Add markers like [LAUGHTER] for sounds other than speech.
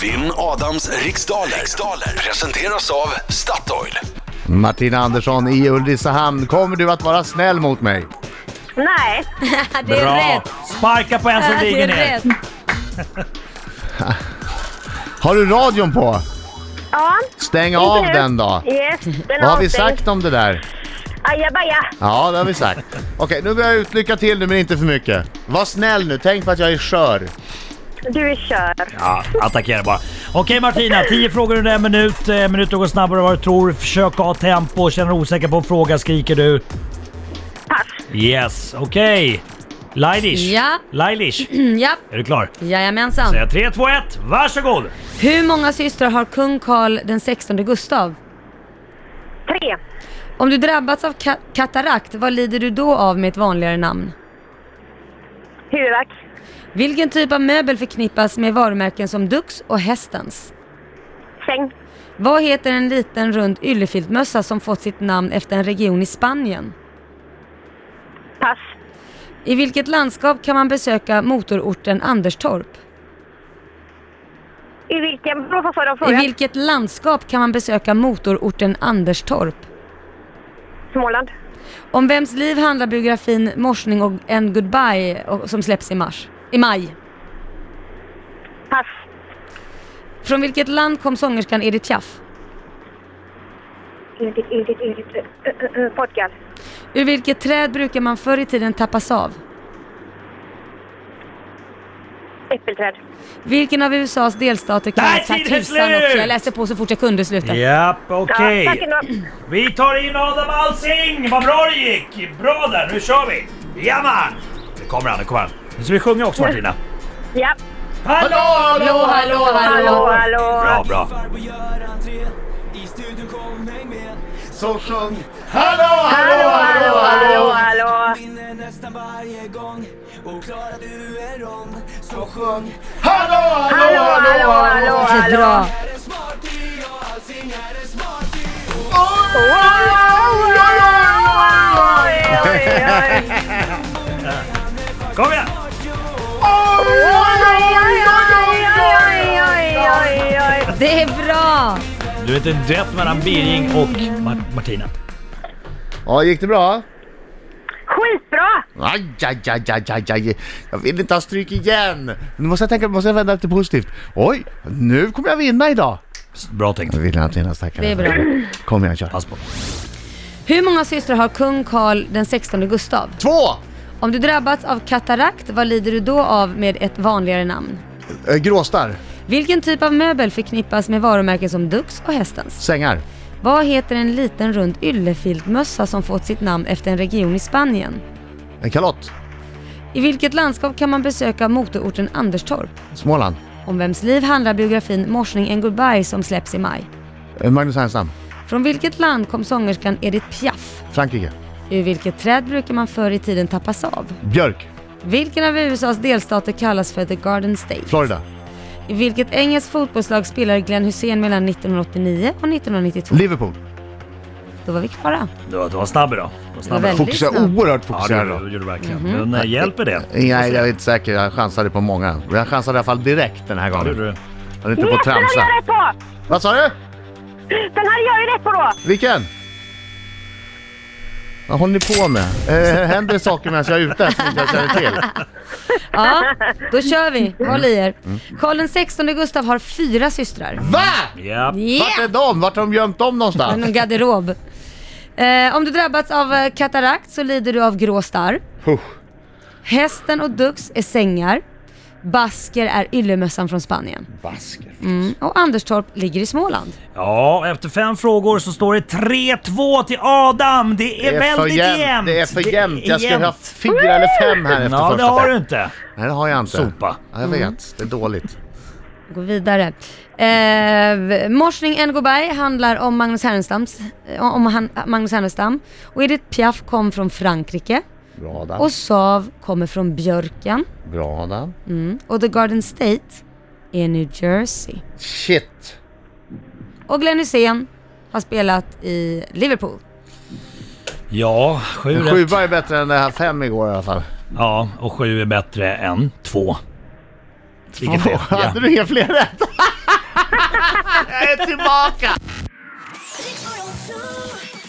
Vinn Adams riksdaler. riksdaler presenteras av Statoil. Martina Andersson i Ulricehamn, kommer du att vara snäll mot mig? Nej. Det är Bra! rätt. Äh, Sparka på en som Det ligger är ner. rätt. Har du radion på? Ja. Stäng av Inte nu. den då. Yes, den Vad har vi avstängs. sagt om det där? Ajabaja. Ja, det har vi sagt. Okej, nu börjar jag ut. Lycka till nu, men inte för mycket. Var snäll nu, tänk på att jag är skör. Du är kör. Ja, attackera bara. Okej Martina, 10 frågor under en minut. Eh, Minuter går snabbare än vad du tror. Försök ha tempo. Känner du osäker på en fråga skriker du. Pass. Yes, okej. Lailish. Ja. Lailish. Mm, ja. Är du klar? Jajamensan. Säg 3, 2, 1. Varsågod! Hur många systrar har kung Carl den 16 Gustav? Tre. Om du drabbats av ka- katarakt, vad lider du då av med ett vanligare namn? Huvudvärk. Vilken typ av möbel förknippas med varumärken som Dux och Hästens? Säng. Vad heter en liten rund yllefiltmössa som fått sitt namn efter en region i Spanien? Pass. I vilket landskap kan man besöka motororten Anderstorp? I vilken? Vad sa de I frågan? vilket landskap kan man besöka motororten Anderstorp? Småland. Om vems liv handlar biografin Morsning och en goodbye och- som släpps i mars? I maj. Pass. Från vilket land kom sångerskan Edith Piaf? Edith, Edith, Edith. Ö, ö, ö, Portugal. Ur vilket träd brukar man förr i tiden tappas av? Äppelträd. Vilken av USAs delstater Där är kallas tiden tusan slut! också? Jag läste på så fort jag kunde sluta. Japp, Ja, okej. tack ändå. Vi tar in Adam Alsing! Vad bra det gick! Bra där, nu kör vi! Jamman! Nu kommer han, nu kommer han. Nu ska vi sjunga också Martina. Ja. Hallå, Hallå, hallå, Hallå, hallå! hallå. Bra, bra. Så sjung. Hallå, Hallå, hallå, hallå, hallå. Hallå, Hallå, hallå, hallå, Så hallå. bra. Oj, oj, oj. Kom igen! Det är bra! Du vet en duett mellan Birging och Mar- Martina. Ja, gick det bra? Skitbra! Aj, aj, aj, aj, aj, aj. Jag vill inte ha stryk igen. Nu måste jag tänka, måste jag vända till positivt. Oj, nu kommer jag vinna idag. Bra tänkt. Jag vill att vinna stackare. Det är bra. Kom igen, kör. Pass på. Hur många systrar har kung Carl den 16 Gustav? Två! Om du drabbats av katarakt, vad lider du då av med ett vanligare namn? Eh, Gråstarr, Vilken typ av möbel förknippas med varumärken som Dux och Hästens? sängar. Vad heter en liten rund yllefiltmössa som fått sitt namn efter en region i Spanien? En kalott, I vilket landskap kan man besöka motororten Anderstorp? Småland. Om vems liv handlar biografin Morsning en goodbye som släpps i maj? Eh, Magnus Härenstam, Från Från vilket land kom sångerskan Edith Piaf? Frankrike. Ur vilket träd brukar man förr i tiden tappas av? Björk, Vilken av USAs delstater kallas för The Garden State? Florida. I vilket engelskt fotbollslag spelade Glenn Hussein mellan 1989 och 1992? Liverpool. Då var vi klara. Du var, du var snabb idag. Du var snabb Det var idag. väldigt- Fokusera, snabbt. oerhört Ja, fokuserad. det då. gjorde du verkligen. Mhm. Men eh, hjälper det? Nej, jag är inte säker. Jag chansade på många. Jag chansade i alla fall direkt den här Ja, det gjorde gången. du. Jag är inte Yes, på den att hade tramsa. jag rätt på! Vad sa du? Den hade jag ju rätt på då! Vilken? Vad håller ni på med? [LAUGHS] Eh, händer det saker medan jag är ute som inte jag känner till? Ja, då kör vi. Håll i er. Karl den 16 Gustav har fyra systrar. Va? Japp. Vart är de? Vart har de gömt dem någonstans? Någon garderob. Eh, om du drabbats av eh, katarakt så lider du av grå starr. Huh. Hästen och Dux är sängar. Basker är yllemössan från Spanien. Basker. Mm. Och Anderstorp ligger i Småland. Ja, efter fem frågor så står det 3-2 till Adam. Det är, Det är för väldigt jämnt. jämnt. Det är för jämnt. Jag skulle jämnt. ha fyra eller fem här efter Ja, det första. har du set. inte. Nej, det har jag inte. Sopa. Ja, jag vet. Det är dåligt. Gå vidare. Eh, Morsning Engoberg handlar om Magnus Härnestams, eh, om han, Magnus Härnestam. Och Edith Piaf kom från Frankrike. Bra Adam. Och Sav kommer från Björken. Bra Adam. Mm. Och The Garden State är New Jersey. Shit. Och Glenn Hysén har spelat i Liverpool. Ja, sju En rätt. sjua är bättre än det här fem igår i alla fall. Ja, och sju är bättre än två. Vilket är, Hade du inga fler rätt? Jag är tillbaka! Riks Morgonzoo.